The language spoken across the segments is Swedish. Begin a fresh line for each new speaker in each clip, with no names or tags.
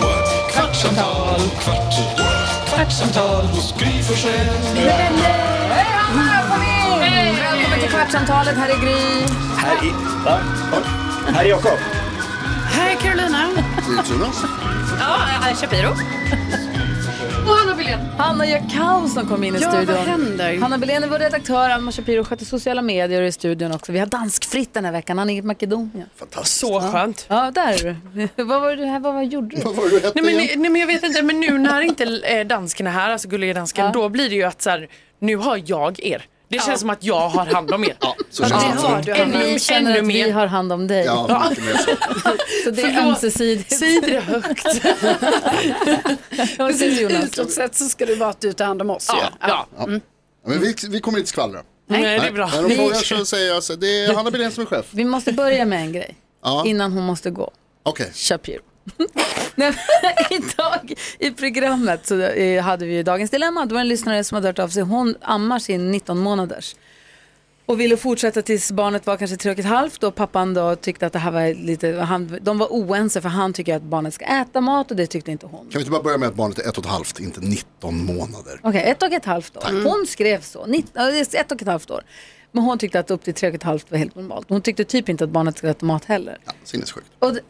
what? kvartsamtal, kvart, what? kvartsamtal hos Gry Forssell med vänner.
Hej Hanna, kom in! Välkommen till Kvartsamtalet, här är Gry.
Här är Jakob.
Här är Carolina. Ja, Aisha Piro.
Hanna Jackau som kom in i
Ja,
studion.
vad händer?
Hanna Belén är vår redaktör, Alma Shapiro sköter sociala medier och är i studion också. Vi har danskfritt den här veckan, han är i Makedonien.
Så skönt.
Ja, där är du. vad, var du här, vad, vad gjorde du?
Nej men, nej men jag vet inte, men nu när inte eh, dansken är här, alltså gulliga dansken, då blir det ju att så här, nu har jag er. Det känns som att jag har hand om er.
Ja,
Ännu-
vi känner
ännu
att vi
mer.
har hand om dig.
Ja,
Så det är
förlåt.
ömsesidigt.
Säg inte det högt.
Vad säger Jonas?
Utåt sett så ska det vara att du tar hand om oss.
Ja, ja.
men vi, vi kommer inte skvallra.
Nej, det är bra.
När de frågar så säger jag så det är Hanna Billén som är chef.
Vi måste börja med en grej
Ja.
innan hon måste gå.
Okej.
Shapiro. Nej, men Idag i programmet så eh, hade vi ju Dagens Dilemma. Det var en lyssnare som hade hört av sig. Hon ammar sin 19 månaders och ville fortsätta tills barnet var kanske tre och ett halvt och pappan då tyckte att det här var lite, han, de var oense för han tycker att barnet ska äta mat och det tyckte inte hon.
Kan vi inte bara börja med att barnet är ett och ett halvt, inte 19 månader.
Okej, ett och ett halvt år.
Mm.
Hon skrev så, nitt- ja, det är ett och ett halvt år. Men hon tyckte att upp till tre och ett halvt var helt normalt. Hon tyckte typ inte att barnet skulle äta mat heller.
Ja, sinnessjukt.
Och det,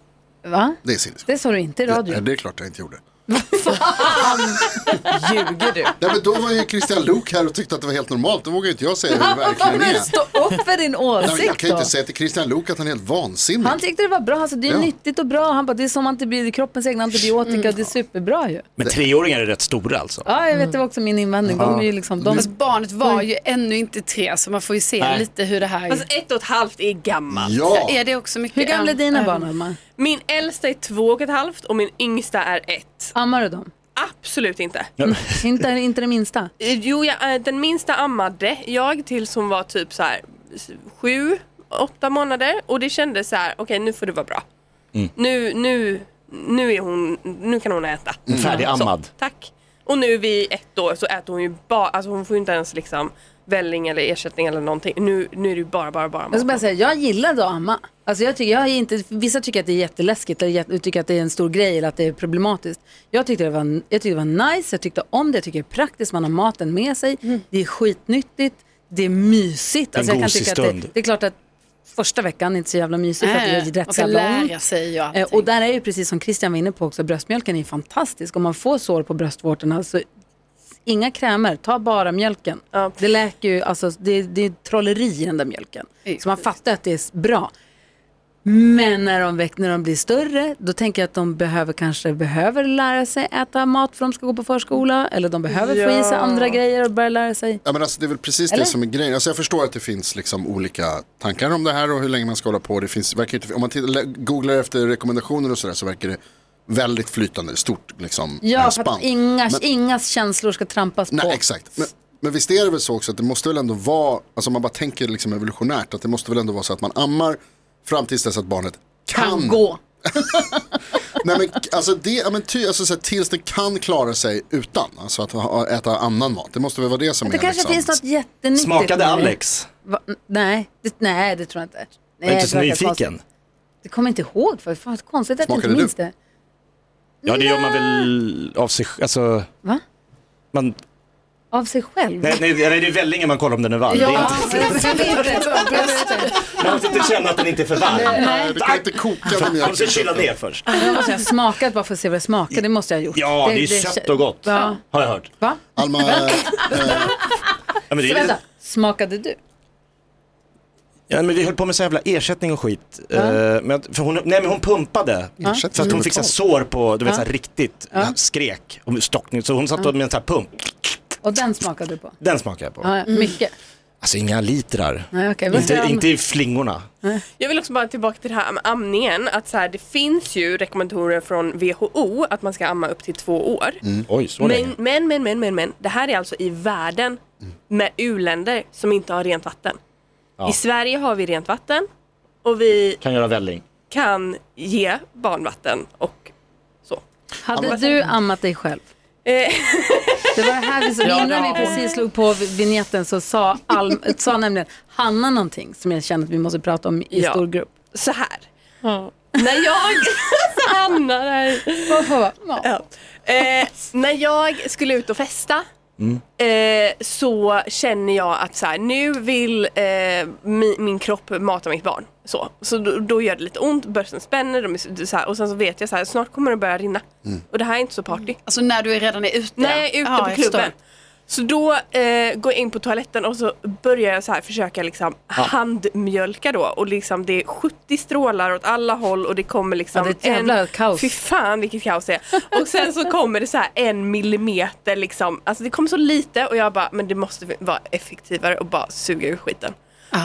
va?
Det är sinnessjukt.
Det sa du inte i
Nej,
radio.
det är klart jag inte gjorde.
Ljuger du?
Nej, men då var ju Kristian Luuk här och tyckte att det var helt normalt. Då vågar ju inte jag säga hur det verkligen
Men
är.
stå upp för din
Nej, Jag
åsikt
kan ju
då.
inte säga till Kristian Luuk att han är helt vansinnig.
Han tyckte det var bra, alltså, det är
Ja. Mm.
nyttigt och bra. Han bara, det är som antibi- kroppens egna antibiotika, det är superbra ju.
Men treåringar är rätt stora alltså?
Ja, jag vet, det var också min invändning. De är ju liksom, de...
Fast barnet var
Mm.
ju ännu inte tre så man får ju se
Nej.
lite hur det här...
Alltså ett och ett halvt är
Mm.
gammalt.
Ja,
är det också mycket
Hur gamla är
äm-
Äh.
dina
äm-
barn, Alma?
Min äldsta är två och ett halvt och min yngsta är ett.
Ammar du dem? Mm.
Absolut inte.
Inte, inte det minsta?
Eh, Jo, jag, eh, den minsta ammade jag tills hon var typ så här s- sju, åtta månader och det kändes så här, okej nu får det vara bra.
Mm.
Nu, nu, nu är hon, nu kan hon äta.
Färdigammad.
Tack. Och nu vid ett år så äter hon ju bara, alltså hon får ju inte ens liksom välling eller ersättning eller någonting. Nu, nu är det ju bara, bara, bara
Jag ska
mat.
bara säga, jag gillade att amma. Alltså jag tycker, jag är inte, vissa tycker att det är jätteläskigt eller jät- tycker att det är en stor grej eller att det är problematiskt. Jag tyckte det var, jag tyckte det var nice, jag tyckte om det, jag tycker det är praktiskt, man har maten med sig, det är skitnyttigt, det är mysigt. Alltså
En
jag kan
gosig
tycka att det,
stund.
det är klart att första veckan är inte så jävla mysigt för att
Nej,
det är rätt
man
så
ska
jävla ont.
lära sig och allting.
Eh, Och där är ju precis som Christian var inne på också, bröstmjölken är ju fantastisk. Om man får sår på bröstvårtorna så inga krämer, ta bara mjölken.
Ja.
Det läker ju, alltså det, det är trolleri i den där mjölken.
Ja,
Så man fattar att det är bra. Men när de, väck, när de blir större, då tänker jag att de behöver kanske behöver lära sig äta mat för de ska gå på förskola. Eller de behöver få i sig andra grejer och börja lära sig.
Ja, men alltså, det är väl precis
Eller?
det som är grejen. Alltså, jag förstår att det finns liksom olika tankar om det här och hur länge man ska hålla på. Det finns, verkar inte, om man tittar, googlar efter rekommendationer och sådär så verkar det väldigt flytande, stort liksom, eh,
Ja, för
spann.
att inga,
Men-
inga känslor ska trampas på.
Nej, exakt. Men, men visst är det väl så också att det måste väl ändå vara, alltså om man bara tänker liksom evolutionärt, att det måste väl ändå vara så att man ammar fram tills dess att barnet kan,
Kan gå.
Nej, men, alltså det, ja, men ty, alltså, så här, tills det kan klara sig utan, alltså att ha, äta annan mat. Det måste väl vara det som
Det
är
kanske
liksom.
finns något jättenyttigt.
Smakade
med det.
Alex?
Va? N- Nej, det, nej, det tror jag inte. Nej,
Jag är inte så
det verkar
nyfiken.
konstigt. Det kommer jag inte ihåg. För, fan, vad konstigt att jag inte
Smakade du?
minns det.
Ja, det gör man väl av sig alltså,
Va?
man,
Av sig själv?
nej, nej, nej, det är vällingen man kollar om den är varm. Det är inte, man måste inte känna att den inte är för varm.
Nej, du kan inte koka den
Man måste kyla ner först.
Jag måste jag ha smakat bara för att se vad det smakar. Det måste jag ha gjort.
Ja, det är sött och gott.
Ja.
Har jag hört.
Va?
Alma, eh,
Ja, men det
Så
är
vänta,
lite,
smakade du?
ja, men vi höll på med så jävla ersättning och skit. Eh, Men, att- för hon, nej, men hon pumpade. Så att hon fick så här sår på, du vet så här riktigt skrek och stockning. Så hon satt och med en sån här pump.
Och den smakade du på?
Den smakade jag på.
Ja, mycket.
Alltså inga litrar.
Nej, okej, men
inte,
sen-
inte i flingorna.
Jag vill också bara tillbaka till det här med amningen. Att så här, det finns ju rekommendationer från WHO att man ska amma upp till två år.
Oj, så länge.
Men, men, men, men, men, men, det här är alltså i världen med u-länder som inte har rent vatten. I Sverige har vi rent vatten och vi
Kan göra välling.
kan ge barnvatten och så.
Hade du ammat dig själv?
Eh.
Det var det här vi, så,
Ja, det
innan
har
vi
hon.
precis slog på vignetten så sa, all, sa nämligen Hanna någonting som jag känner att vi måste prata om i
Ja.
stor grupp.
Så här. När jag... Sanna, det här. Ja. Eh, när jag skulle ut och festa eh, så känner jag att så här, nu vill eh, mi, min kropp mata mitt barn. Så, så då, då gör det lite ont, börsen spänner de är så- så här, och sen så vet jag så här, snart kommer det börja rinna. Och det här är inte så party.
Alltså när du redan är ute?
När jag är ute
Ja,
på
jag förstår.
klubben. Så då eh, går jag in på toaletten och så börjar jag så här försöka liksom handmjölka då och liksom det är 70 strålar åt alla håll och det kommer liksom
Ja, det är ett jävla kaos.
Fy fan vilket kaos det är. Och sen så kommer det så här en millimeter liksom, alltså det kommer så lite och jag bara men det måste vara effektivare och bara suga ur skiten.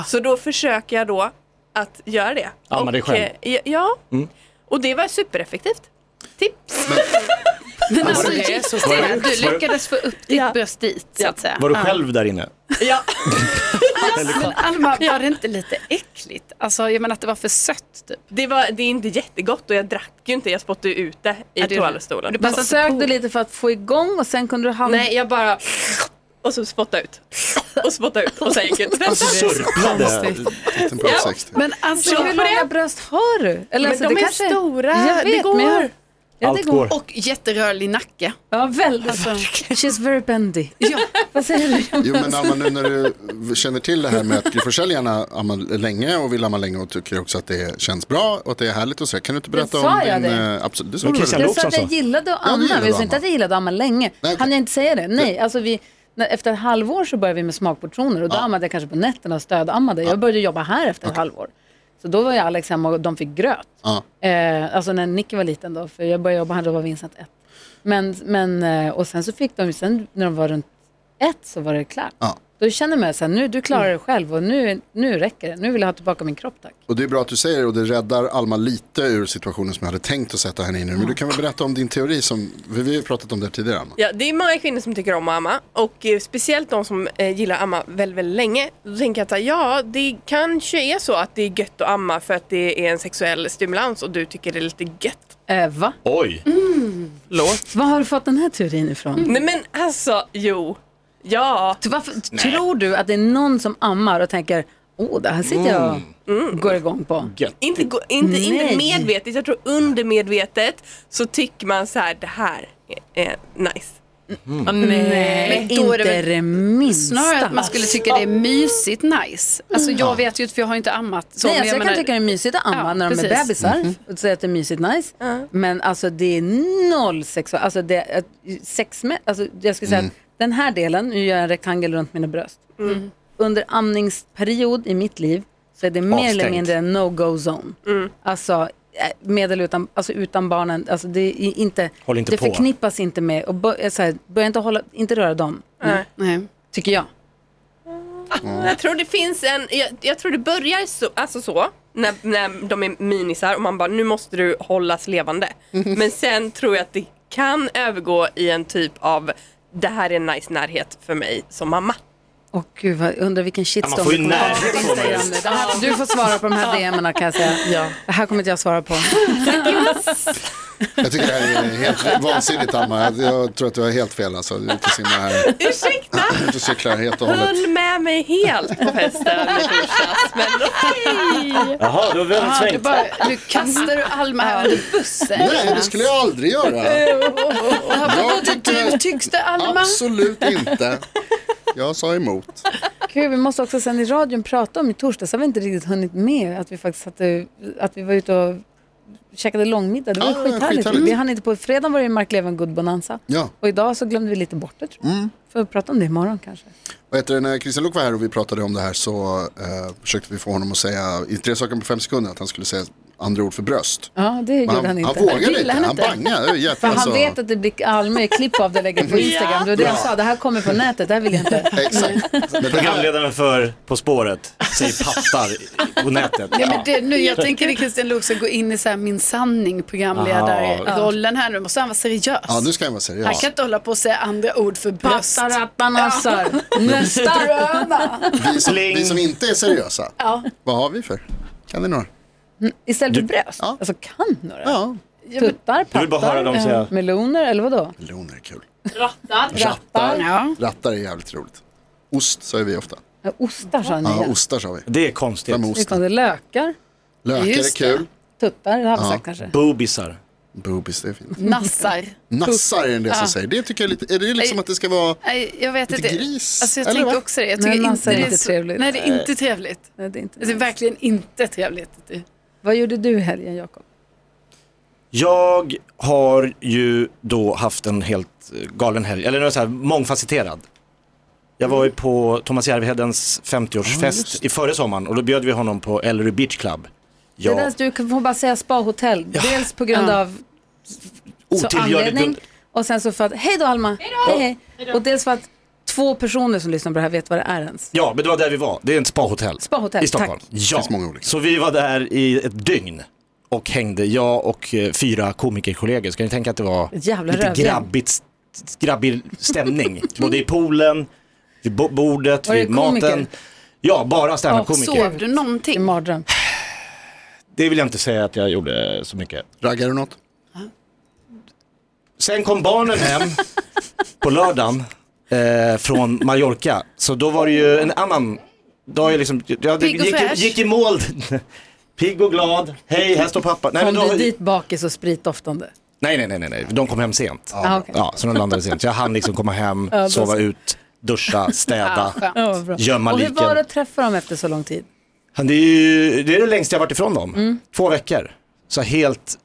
Så då försöker jag då att göra det.
Amma
Och,
dig själv.
eh, Ja. Och det var supereffektivt. Tips!
Men alltså,
det är
just
så
det, du lyckades få upp ditt
Ja.
bröst dit så att säga.
Var du själv där inne?
Ja.
Men Alma, var det inte lite äckligt? Alltså jag menar att det var för sött typ.
Det, var, det är inte jättegott och jag drack ju inte, jag spottade ut det i
Ja, det-
toalettstolen.
Alltså,
Men sög du lite för att få igång och sen kunde du hamna...
Nej, jag bara... Och så spottade ut. Och spottade ut och sen gick jag till
Alltså
tvätten.
surplade.
Titten på 60.
Men alltså,
Hur långa bröst har du? Eller,
Men
alltså,
de
det
är
kanske-
stora,
Jag
det
vet, men jag-
går.
Ja, det
Allt går.
och jätterörlig nacke.
Ja, väldigt.
Alltså.
She's very bendy. Ja. Vad säger du?
Jo, men Amma, nu när du känner till det här med att Gry Forssell gärna ammar länge och vill amma länge och tycker också att det känns bra och att det är härligt och så. Kan du inte berätta
sa
om
jag
din...
det.
eh, Absolut, det sa
Men
du väl?
Christian
Jag sa
Olsson
att jag
sa.
gillade att
Ja, du
amma, men
gillade
jag sa
att
inte att jag gillade att amma länge.
Nej, okej.
Hann jag inte säga det? Nej, alltså vi, när, efter ett halvår så började vi med smakportioner och då ammade jag kanske på nätterna och stödammade. Jag började jobba här efter ett halvår. Så då var jag Alex hemma och de fick gröt.
Ja.
Eh, alltså när Nicky var liten då, för jag började jobba här, då var Vincent ett. Men, men, eh, och sen så fick de, ju- sen när de var runt ett så var det klart.
Ja.
Då känner man så här, nu, du klarar dig själv och nu, nu räcker det. Nu vill jag ha tillbaka min kropp tack.
Och det är bra att du säger det och det räddar Alma lite ur situationen som jag hade tänkt att sätta henne i nu. Men du kan väl berätta om din teori som, vi vi har ju pratat om det här tidigare Alma.
Ja, det är många kvinnor som tycker om att amma och eh, speciellt de som eh, gillar att amma väldigt, väldigt länge. Då tänker jag att så här, ja, det kanske är så att det är gött att amma för att det är en sexuell stimulans och du tycker det är lite gött.
Eh, va?
Oj.
Var har du fått den här teorin ifrån?
Nej men alltså, jo. Ja.
T- Varför, tror du att det är någon som ammar och tänker, åh, det här sitter jag och
Mm.
går igång på?
Inte, gå- inte, inte
Nej.
medvetet, jag tror undermedvetet så tycker man så här, det här är, är nice.
Men
Men då är det
inte
väl
det minsta.
Snarare att man skulle tycka det är mysigt nice. Alltså jag vet ju, för jag har inte ammat. Så,
Nej,
men
alltså jag
menar-
kan tycka det är mysigt att amma
Ja,
när de är
precis. Mm-hmm.
bebisar och säga att det är mysigt nice. Men alltså det är noll sexuellt, alltså det är sex med, alltså jag skulle säga
Mm.
att den här delen, nu gör jag en rektangel runt mina bröst. Under amningsperiod i mitt liv så är det mer eller
Avstängt.
mindre en no-go zone.
Mm.
Alltså eh, med eller utan, alltså utan barnen, alltså det är inte,
Håll inte
det
på.
förknippas inte med, och bör, eh, så här, börja inte hålla, inte röra dem,
Nej.
tycker jag.
Jag tror det finns en, jag, jag tror det börjar så, alltså så, när, när de är minisar och man bara nu måste du hållas levande. Men sen tror jag att det kan övergå i en typ av det här är en nice närhet för mig som mamma.
Åh gud, vad, jag undrar vilken shitstorm
Ja, man får ju
vi kommer ha
närhet
på
får man ju.
Instagram nu. Det här- Du får svara på de här DMerna kan jag säga. Det här kommer inte jag svara på.
Jag tycker det här är helt vansinnigt Alma. Jag, jag tror att du har helt fel alltså. Du är ute och simmar här.
Ursäkta!
Du är ute och cyklar helt och hållet.
Höll med mig helt på festen i torsdags. Men okej.
Jaha, du har väldigt
Ja, du,
svängt.
bara, du kastar du Alma här under bussen.
Nej, det skulle jag aldrig
Eh,
göra. Jag tyckte
Tyckste Alma?
absolut inte. Jag sa emot.
Gud, vi måste också sen i radion prata om i torsdags, har vi inte riktigt hunnit med att vi faktiskt satte, att vi var ute och käkade långmiddag. Det var
Ja,
skithärligt.
skithärligt.
Vi hann inte på, fredag var det ju Mark Levengood Bonanza.
Ja.
Och idag så glömde vi lite bort det tror jag.
Mm.
Får prata om det imorgon kanske.
Vad heter det, när Christian Luuk var här och vi pratade om det här så eh, försökte vi få honom att säga, i tre saker på fem sekunder, att han skulle säga andra ord för bröst.
Ja, det
Men
gjorde han,
han,
inte.
vågade
Ville
inte, han bangade. Det är jätte-
För han
alltså-
vet att det blir allmän klipp av det och lägger på Instagram. Det var det han sa, det här kommer från nätet, det här vill jag inte.
Exakt. Men det här,
Programledaren för På spåret säger pattar i- på nätet.
Nej, men det, nu, jag tänker att Christian Luuk ska gå in i så här min sanning programledarrollen här nu. Måste han vara seriös?
ja, nu ska jag vara
Han
seriös.
kan inte hålla på och säga andra ord för bröst.
Pastarattanasar. Nästa.
Vi som,
Pling.
vi som inte är seriösa,
Ja.
vad har vi för? Kan ni några?
Istället för bröst.
Ja.
Alltså kan några.
Ja,
Tuttar,
Jag vill bara höra
pattar, eh,
dem säga.
meloner eller vadå?
meloner är kul.
Rattar.
Ja.
Rattar är jävligt roligt. Ost säger vi ofta.
Ja, Ostar sa han
Ja,
igen.
ostar sa vi.
Det är konstigt.
Fem
Nu
ost.
kom det lökar,
Lökar är
Just det.
kul.
tuttar, det har vi sagt kanske.
Boobisar.
Boobies, det är fint.
Nassar.
Nassar är det en del som säger. Det tycker jag är lite, är det liksom att det ska vara...
Nej, jag vet
Lite
inte.
gris,
Alltså, jag
eller
tänker
va?
också det. Jag
Nej,
tycker
man
inte
säger
det är
inte
så...
trevligt.
Nej, det är inte trevligt. Alltså,
Nej, det är inte
Det är verkligen inte trevligt.
Alltså, Vad gjorde du i helgen, Jakob?
Jag har ju då haft en helt eh, galen helg, eller något så här mångfacetterad. Jag var ju på Thomas Järvhedens 50-årsfest i förra sommaren och då bjöd vi honom på Ellery Beach Club.
Det där,
Ja,
du kan- får bara säga spahotell. Dels på grund av så
otillgörligt
anledning
dumt.
och sen så för att, hej då Alma, hej hej. Och dels för att två personer som lyssnar på det här vet vad det är ens.
Ja, men det var där vi var. Det är ett spahotell.
Spahotell,
I Stockholm.
tack.
Ja.
finns många olika.
Så vi var där i ett dygn och hängde, jag och eh, fyra komikerkollegor. Ska ni tänka att det var
Ett jävla
lite
rövgäng.
grabbigt, st- grabbig stämning. Både i poolen, vid bo- bordet,
Var det
vid maten.
komiker?
Ja, bara standup-komiker.
Sov du
I
någonting?
mardröm.
det vill jag inte säga att jag gjorde så mycket.
Raggar du något?
Sen kom barnen hem på lördagen eh, från Mallorca. Så då var det ju en annan dag. Jag, liksom, jag
Pigg och
gick,
fräsch.
gick i mål. Pigg och glad. Hej, här står pappa. Nej,
Kom
men då,
du dit bakis och spritdoftande?
nej, nej, nej, nej, nej. De kom hem sent.
Ah, okej.
Ja, så de landade sent. Så jag hann liksom komma hem,
Ja, då
sova
så.
ut, duscha, städa,
Ja, vad bra.
gömma
Och hur var det
liken.
att träffa dem efter så lång tid?
Han, Det är, ju, det är det längsta jag varit ifrån dem.
Mm.
Två veckor. Så helt,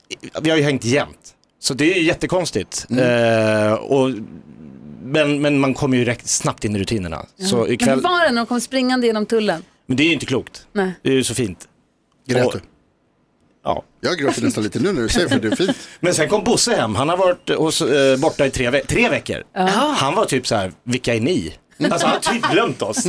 vi har ju hängt jämt. Så det är ju jättekonstigt.
Mm.
Eh, och, men, men man kommer ju direkt snabbt in i rutinerna. Så
Men hur
ikväll,
var det när de kom springande genom tullen?
men det är ju inte klokt.
Nej.
Det är ju så fint.
Grät
Och-
du?
Ja.
Jag gråter nästan lite nu när du säger för det är fint.
Men sen kom Bosse hem, han har varit hos, eh, borta i tre, ve- tre veckor. Han var typ så här, vilka är ni? Alltså han har typ glömt oss.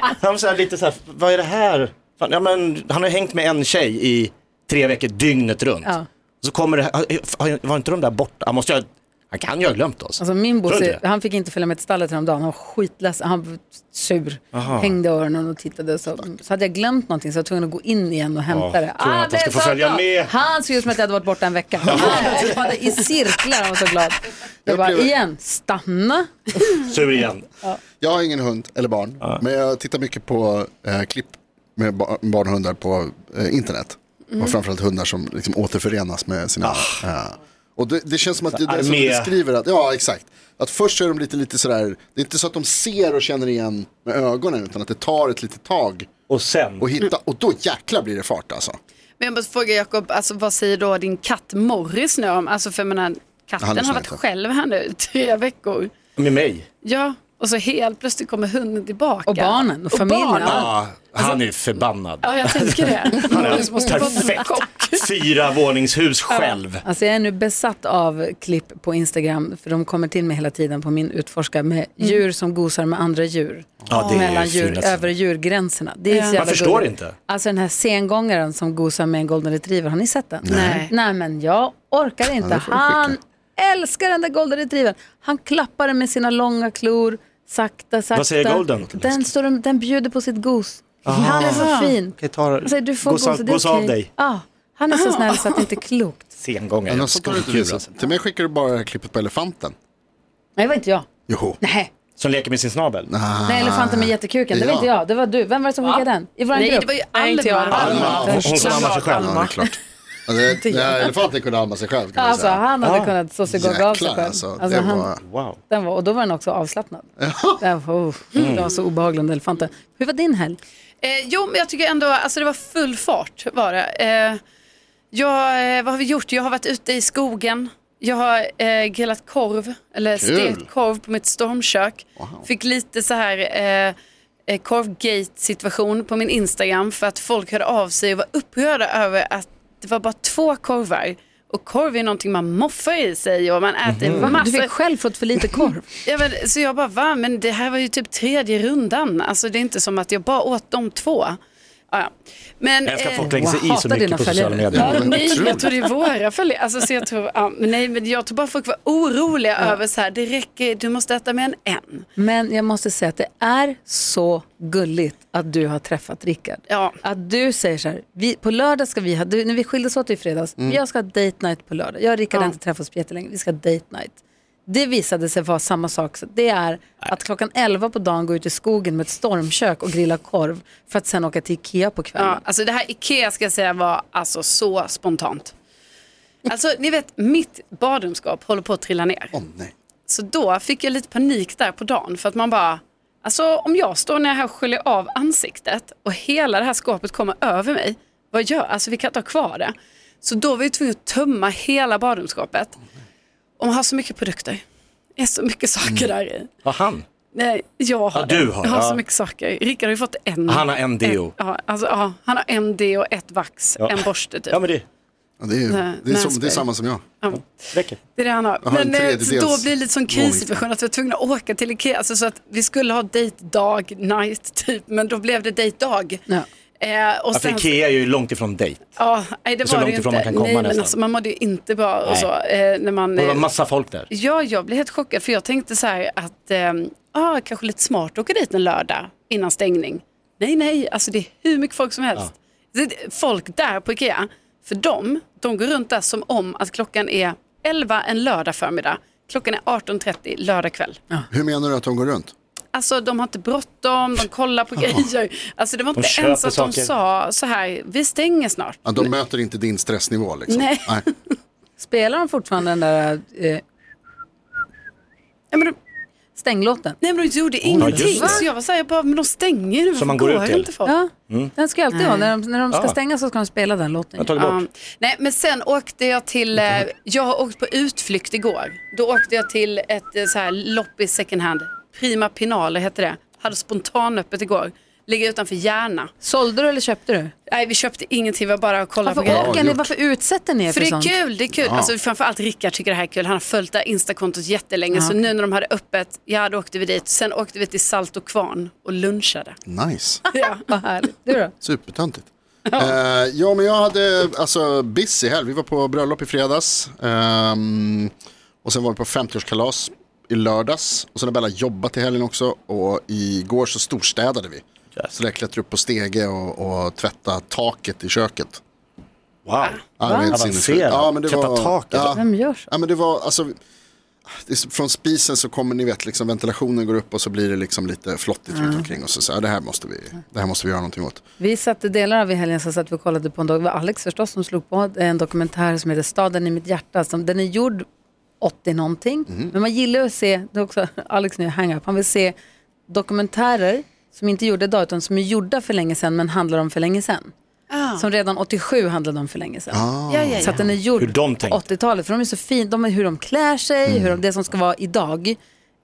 han var så här, lite så här, vad är det här? Fan, Ja, men, han har ju hängt med en tjej i tre veckor dygnet runt.
Ja.
Så kommer det, här- var inte de där borta? Han, måste, ju ha- han kan ju ha glömt oss.
Alltså min
Tror du
Bosse,
inte det?
han fick inte följa med till stallet häromdagen. Han var skitledsen, han var sur. Hängde i öronen och tittade. Så, så hade jag glömt någonting så jag var tvungen att gå in igen och hämta
Ja,
det. Ah,
tror han att
det
han ska
är
få
så
följa
bra.
med?
Han såg ut som att jag hade varit borta en vecka. Han hoppade i cirklar, han var så glad. Jag bara,
upplever-
igen, stanna.
Sur igen.
Jag har ingen hund eller barn, men jag tittar mycket på eh, klipp med ba- barn och hundar på eh, internet.
Mm.
Och framförallt hundar som liksom återförenas med sina... ja. Och det, det känns som att det, det är som du
armé.
beskriver, att, ja exakt. Att först är de lite, lite sådär, det är inte så att de ser och känner igen med ögonen, utan att det tar ett litet tag
Och sen,
att
Mm.
hitta, och då jäklar blir det fart alltså.
Men jag måste fråga Jakob, alltså, vad säger då din katt Morris nu om? Alltså för jag menar,
Han
katten
lyssnar
har varit
inte.
själv här nu i tre veckor.
med mig.
Ja, och så helt plötsligt kommer hunden tillbaka.
Och barnen och familjen.
barnen.
Ja.
Ja, Ah, han är förbannad.
Ja, jag tänker det.
Han
Morris måste
är
ha fått en
perfekt
chock.
fyra våningshus själv.
Alltså jag är nu besatt av klipp på Instagram för de kommer till mig hela tiden på min utforska med djur som gosar med andra djur.
Ja, det är
mellan
ju
djur,
fint.
över djurgränserna. Det är så jävla
Man förstår
gulligt.
inte.
Alltså den här sengångaren som gosar med en golden retriever, har ni sett den?
Nej.
Nej men jag orkar inte.
det får du skicka.
Han älskar den där golden retrievern. Han klappar den med sina långa klor, sakta, sakta.
Vad säger golden?
Den, står, och- den bjuder på sitt gos. Han är så fin. Han säger, Alltså, du får
Gosa-
gosa, det är
gosa av
okej."
dig.
Ja, han är så snäll så att det inte är klokt.
Sengångare.
Men sånt har du inte
Skolkul,
visat.
alltså.
Till mig skickar du bara det här klippet på elefanten.
Nej, det var inte jag.
Jo.
Nej,
Som leker med sin snabel.
Nej elefanten med jättekuken, det var
Ah. Ja.
inte jag. Det var du. Vem var det som skickade den? I vår
Nej,
grupp?
det var ju
Nej, inte jag.
Alma.
Alma, hon, hon som ammar sig själv.
Ja, det är klart. Ja, Alltså, det, det här elefanten kunde amma sig själv kan man
Alltså
säga.
han hade kunnat så sig gå av sig själv.
Jäklar alltså. Det var...
han,
Wow.
den var, och då var den också avslappnad. Den var, oh,
Mm.
den var så obehaglig den elefanten. Hur var din helg?
Eh, jo, men jag tycker ändå, alltså det var full fart var det. Eh, jag, eh, vad har vi gjort? Jag har varit ute i skogen. Jag har eh, grillat korv, eller
Kul.
stekt korv på mitt stormkök. Fick lite så här eh, eh, korvgate-situation på min Instagram för att folk hörde av sig och var upprörda över att det var bara två korvar. Och korv är någonting man moffar i sig och man äter
Va? Du
massor.
fick själv fått för lite korv.
Ja, men, så jag bara, va? Men det här var ju typ tredje rundan. Alltså det är inte som att jag bara åt de två. Ja, ja. Men,
Jag älskar att
eh,
folk lägger sig i
hatar
så
dina
mycket på sociala
följare.
medier.
Ja, nej, jag tror det är våra följare. Alltså, så jag, tror, ja, men nej, men jag tror bara folk var oroliga över så här, det räcker, du måste äta mer än en.
Men jag måste säga att det är så gulligt att du har träffat Rickard.
Ja.
Att du säger så här, vi, på lördag ska vi ha, du, när vi skildes åt i fredags, jag ska ha date night på lördag. Jag och Rickard har inte träffats på jättelänge, vi ska ha date night. Det visade sig vara samma sak. Så Det är att klockan 11 på dagen gå ut i skogen med ett stormkök och grilla korv för att sen åka till Ikea på kvällen.
Ja, alltså det här Ikea ska jag säga var alltså så spontant. Alltså ni vet, mitt badrumsskåp håller på att trilla ner.
Åh nej.
Så då fick jag lite panik där på dagen för att man bara, alltså om jag står när jag här sköljer av ansiktet och hela det här skåpet kommer över mig, vad gör jag? Alltså vi kan inte ha kvar det. Så då var jag tvungen att tömma hela badrumsskåpet. Och man har så mycket produkter. Det är så mycket saker
Mm.
där i.
Vad han?
Nej, jag har,
Ja,
det.
du har,
jag har
ja.
så mycket saker. Rickard har ju fått en.
Han har en deo.
Ja, alltså, ja, han har en deo, ett vax,
Ja.
en borste typ.
Ja men det
Ja, det, är,
Nej,
det, är som,
nässpray.
det är samma som jag.
räcker.
Det är det han har.
Jag har en
Men eh, så
tredjedels
då blir det lite sån krissituation att vi var tvungna att åka till Ikea. Alltså, så att vi skulle ha date dag, night typ, men då blev det date dag.
Ja.
Eh, och
Ja, för
sen,
Alltså, Ikea är ju långt ifrån dejt.
ja, nej, det
så
var det
långt
ju inte.
ifrån man kan komma
nej, men
nästan.
alltså, man mådde ju inte bra och
Nej.
så. Eh, när man,
Och Det var
eh,
massa folk där.
Ja, jag blev helt chockad för jag tänkte så här att eh, ah, kanske lite smart att åka dit en lördag innan stängning. Nej, nej, alltså det är hur mycket folk som helst. Det, folk där på Ikea, för dem, de går runt där som om att klockan är 11 en lördag förmiddag. Klockan är 18.30 lördag kväll.
Hur menar du att de går runt?
Alltså de har inte bråttom, de kollar på grejer. Alltså det var inte
köper
ens att de
saker.
sa så här, vi stänger snart.
Ja, de möter inte din stressnivå liksom?
Nej.
Spelar de fortfarande den där eh,
Ja, men de,
stänglåten?
nej men de gjorde
Ja,
ingenting.
just det.
så jag var så här, jag bara, men de stänger nu. Varför
man går ut till.
inte folk?
Ja, den ska ju alltid vara, när de, när de ska
Ja.
stänga så ska de spela den låten.
Jag har tagit bort.
Ja. nej, men sen åkte jag till, eh, jag har åkt på utflykt igår. Då åkte jag till ett eh, så här loppis second hand, Prima Pinale heter det. Hade spontanöppet igår. Ligger utanför Järna.
Sålde du eller köpte du?
Nej, vi köpte ingenting, vi var bara och kollade på grejer.
Varför åker ni?
gjort.
Varför utsätter ni er
För
för,
det är
sånt?
kul, det är kul. Alltså, framförallt Rickard tycker det här är kul. Han har följt det här Instakontot jättelänge. Så nu när de hade öppet, ja då åkte vi dit. Sen åkte vi till Salt och Kvarn och lunchade.
Nice.
Vad härligt. Du då?
Supertöntigt. Ja. ja, men jag hade alltså busy helg. Vi var på bröllop i fredags. Ehm, och sen var vi på 50-årskalas i lördags. Och sen har Bella jobbat i helgen också. Och igår så storstädade vi. Så jag klättrade upp på stege och, och tvättade taket i köket.
Wow.
Ja, det var helt sinnessjukt.
Avancerat.
Ja, men det
Tvätta
var-
taket.
Ja.
Vem gör så?
Ja, men det var, alltså, det är så- från spisen så kommer ni vet, liksom, ventilationen går upp och så blir det liksom lite flottigt
Mm.
runt omkring. Och så, så här, det, här måste vi, det här måste vi göra någonting åt.
Vi satte delar av i helgen så satt vi och kollade på en dag. Det var Alex förstås som slog på en dokumentär som heter Staden i mitt hjärta. Som, den är gjord 80 någonting. Men man gillar att se, det är också Alex nu hang up, han vill se dokumentärer som inte är gjorda idag utan som är gjorda för länge sedan men handlar om för länge sedan. Som redan 87 handlade om för länge sedan.
Ja, ja,
Så
ja.
att den är gjord
Hur de Mm.
på
tänkte.
80-talet. För de är så fina, de är hur de klär sig, hur de, det som ska vara idag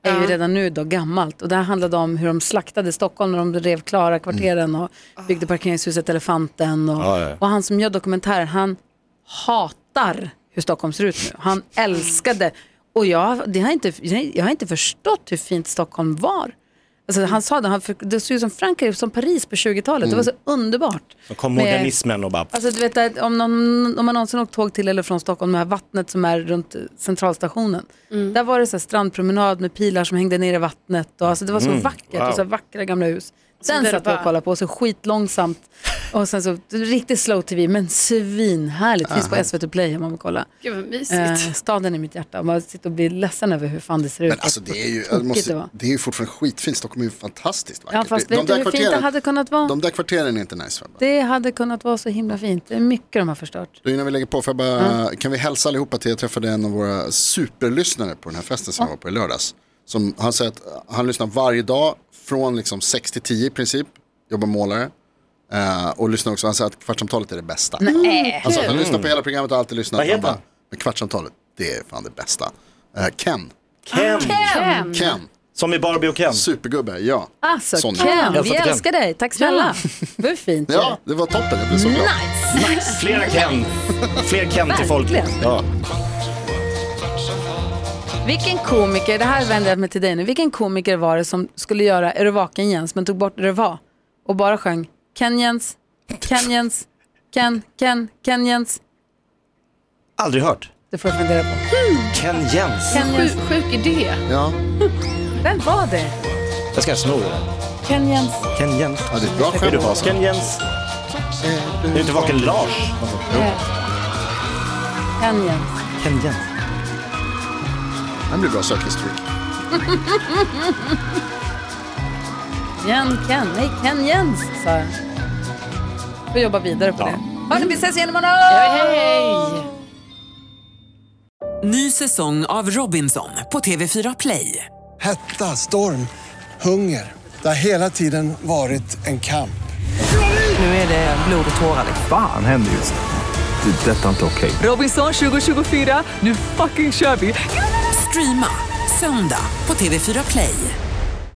är ju redan nu då gammalt. Och det här handlade om hur de slaktade Stockholm när de rev klara
Mm.
kvarteren och byggde parkeringshuset Elefanten. Och,
Ja, ja.
och han som gör dokumentären, han hatar hur Stockholm ser ut nu. Han älskade, och jag, det har inte, jag har inte förstått hur fint Stockholm var. Alltså, han sa det, han, det såg ut som Frankrike, som Paris på 20-talet. Det var
Mm.
så underbart.
Då kom
Med-
modernismen och bara...
Alltså du vet att om, någon, om man någonsin åkt tåg till eller från Stockholm, det här vattnet som är runt centralstationen.
Mm.
Där var det så här strandpromenad med pilar som hängde ner i vattnet. Och, alltså, det var
Mm.
så vackert och så här vackra gamla hus. Den
där
satt vi
det
och
bara-
kollade på och så skitlångsamt. Och sen så riktigt slow tv men svinhärligt. Finns på SVT Play om man vill kolla.
Gud vad mysigt.
Eh, staden i mitt hjärta. Och man sitter och blir ledsen över hur fan det ser ut.
Men alltså det är ju,
Tokigt
jag
det var.
måste, det är ju fortfarande skitfint. Stockholm är ju fantastiskt vackert.
Ja fast
Det-
vet du hur fint det
kvarteren,
hade kunnat vara?
de där kvarteren är inte nice. För
Det hade kunnat vara så himla fint. Det är mycket de har förstört.
då innan vi lägger på, för jag bara, kan vi hälsa allihopa till jag träffade en av våra superlyssnare på den här festen som jag var på i lördags. Som, han säger att han lyssnar varje dag från liksom 6 till 10 i princip, jobbar målare. Eh, och lyssnar också, han säger att kvartsamtalet är det bästa. Han sa att han lyssnar på hela programmet och alltid lyssnat.
Vad heter
Han bara,
han?
Men kvartsamtalet, det är fan det bästa. Eh, Ken.
Ken!
Ken.
Som i Barbie och Ken.
Supergubbe, ja.
Alltså
Sonja.
Ken, vi
Hälsa till Ken.
älskar dig. Tack snälla. Det var fint.
Ja, det var toppen. Jag blev så glad.
Flera Ken. Fler Ken till folket.
Verkligen.
Ja.
Vilken komiker, det här vänder jag mig till dig nu, vilken komiker var det som skulle göra Är du vaken Jens men tog bort Är du va och bara sjöng Ken Jens, Ken Jens, Ken, Ken, Ken Jens.
Aldrig hört.
Det får jag fundera på.
Ken Jens.
Ken Jens,
Sjuk idé.
Ja.
vem var det?
Jag ska sno det där.
Ken Jens.
Ken Jens.
ja, det är ett bra
Är du
skämt. Alltså.
vaken Jens? Är du inte vaken Lars?
Eh, Ken Jens.
Ken Jens.
Det blir bra sökhistorik.
Jen, Ken, nej Ken Jens sa jag. Får jobba vidare på det. Hörni, vi ses igen imorgon!
Ny säsong av Robinson på TV4 Play.
Hetta, storm, hunger. Det har hela tiden varit en kamp.
Nu är det blod och tårar.
Fan händer just nu. Det. är Detta är inte okej.
Robinson 2024, nu fucking kör vi! Streama söndag på TV4 Play.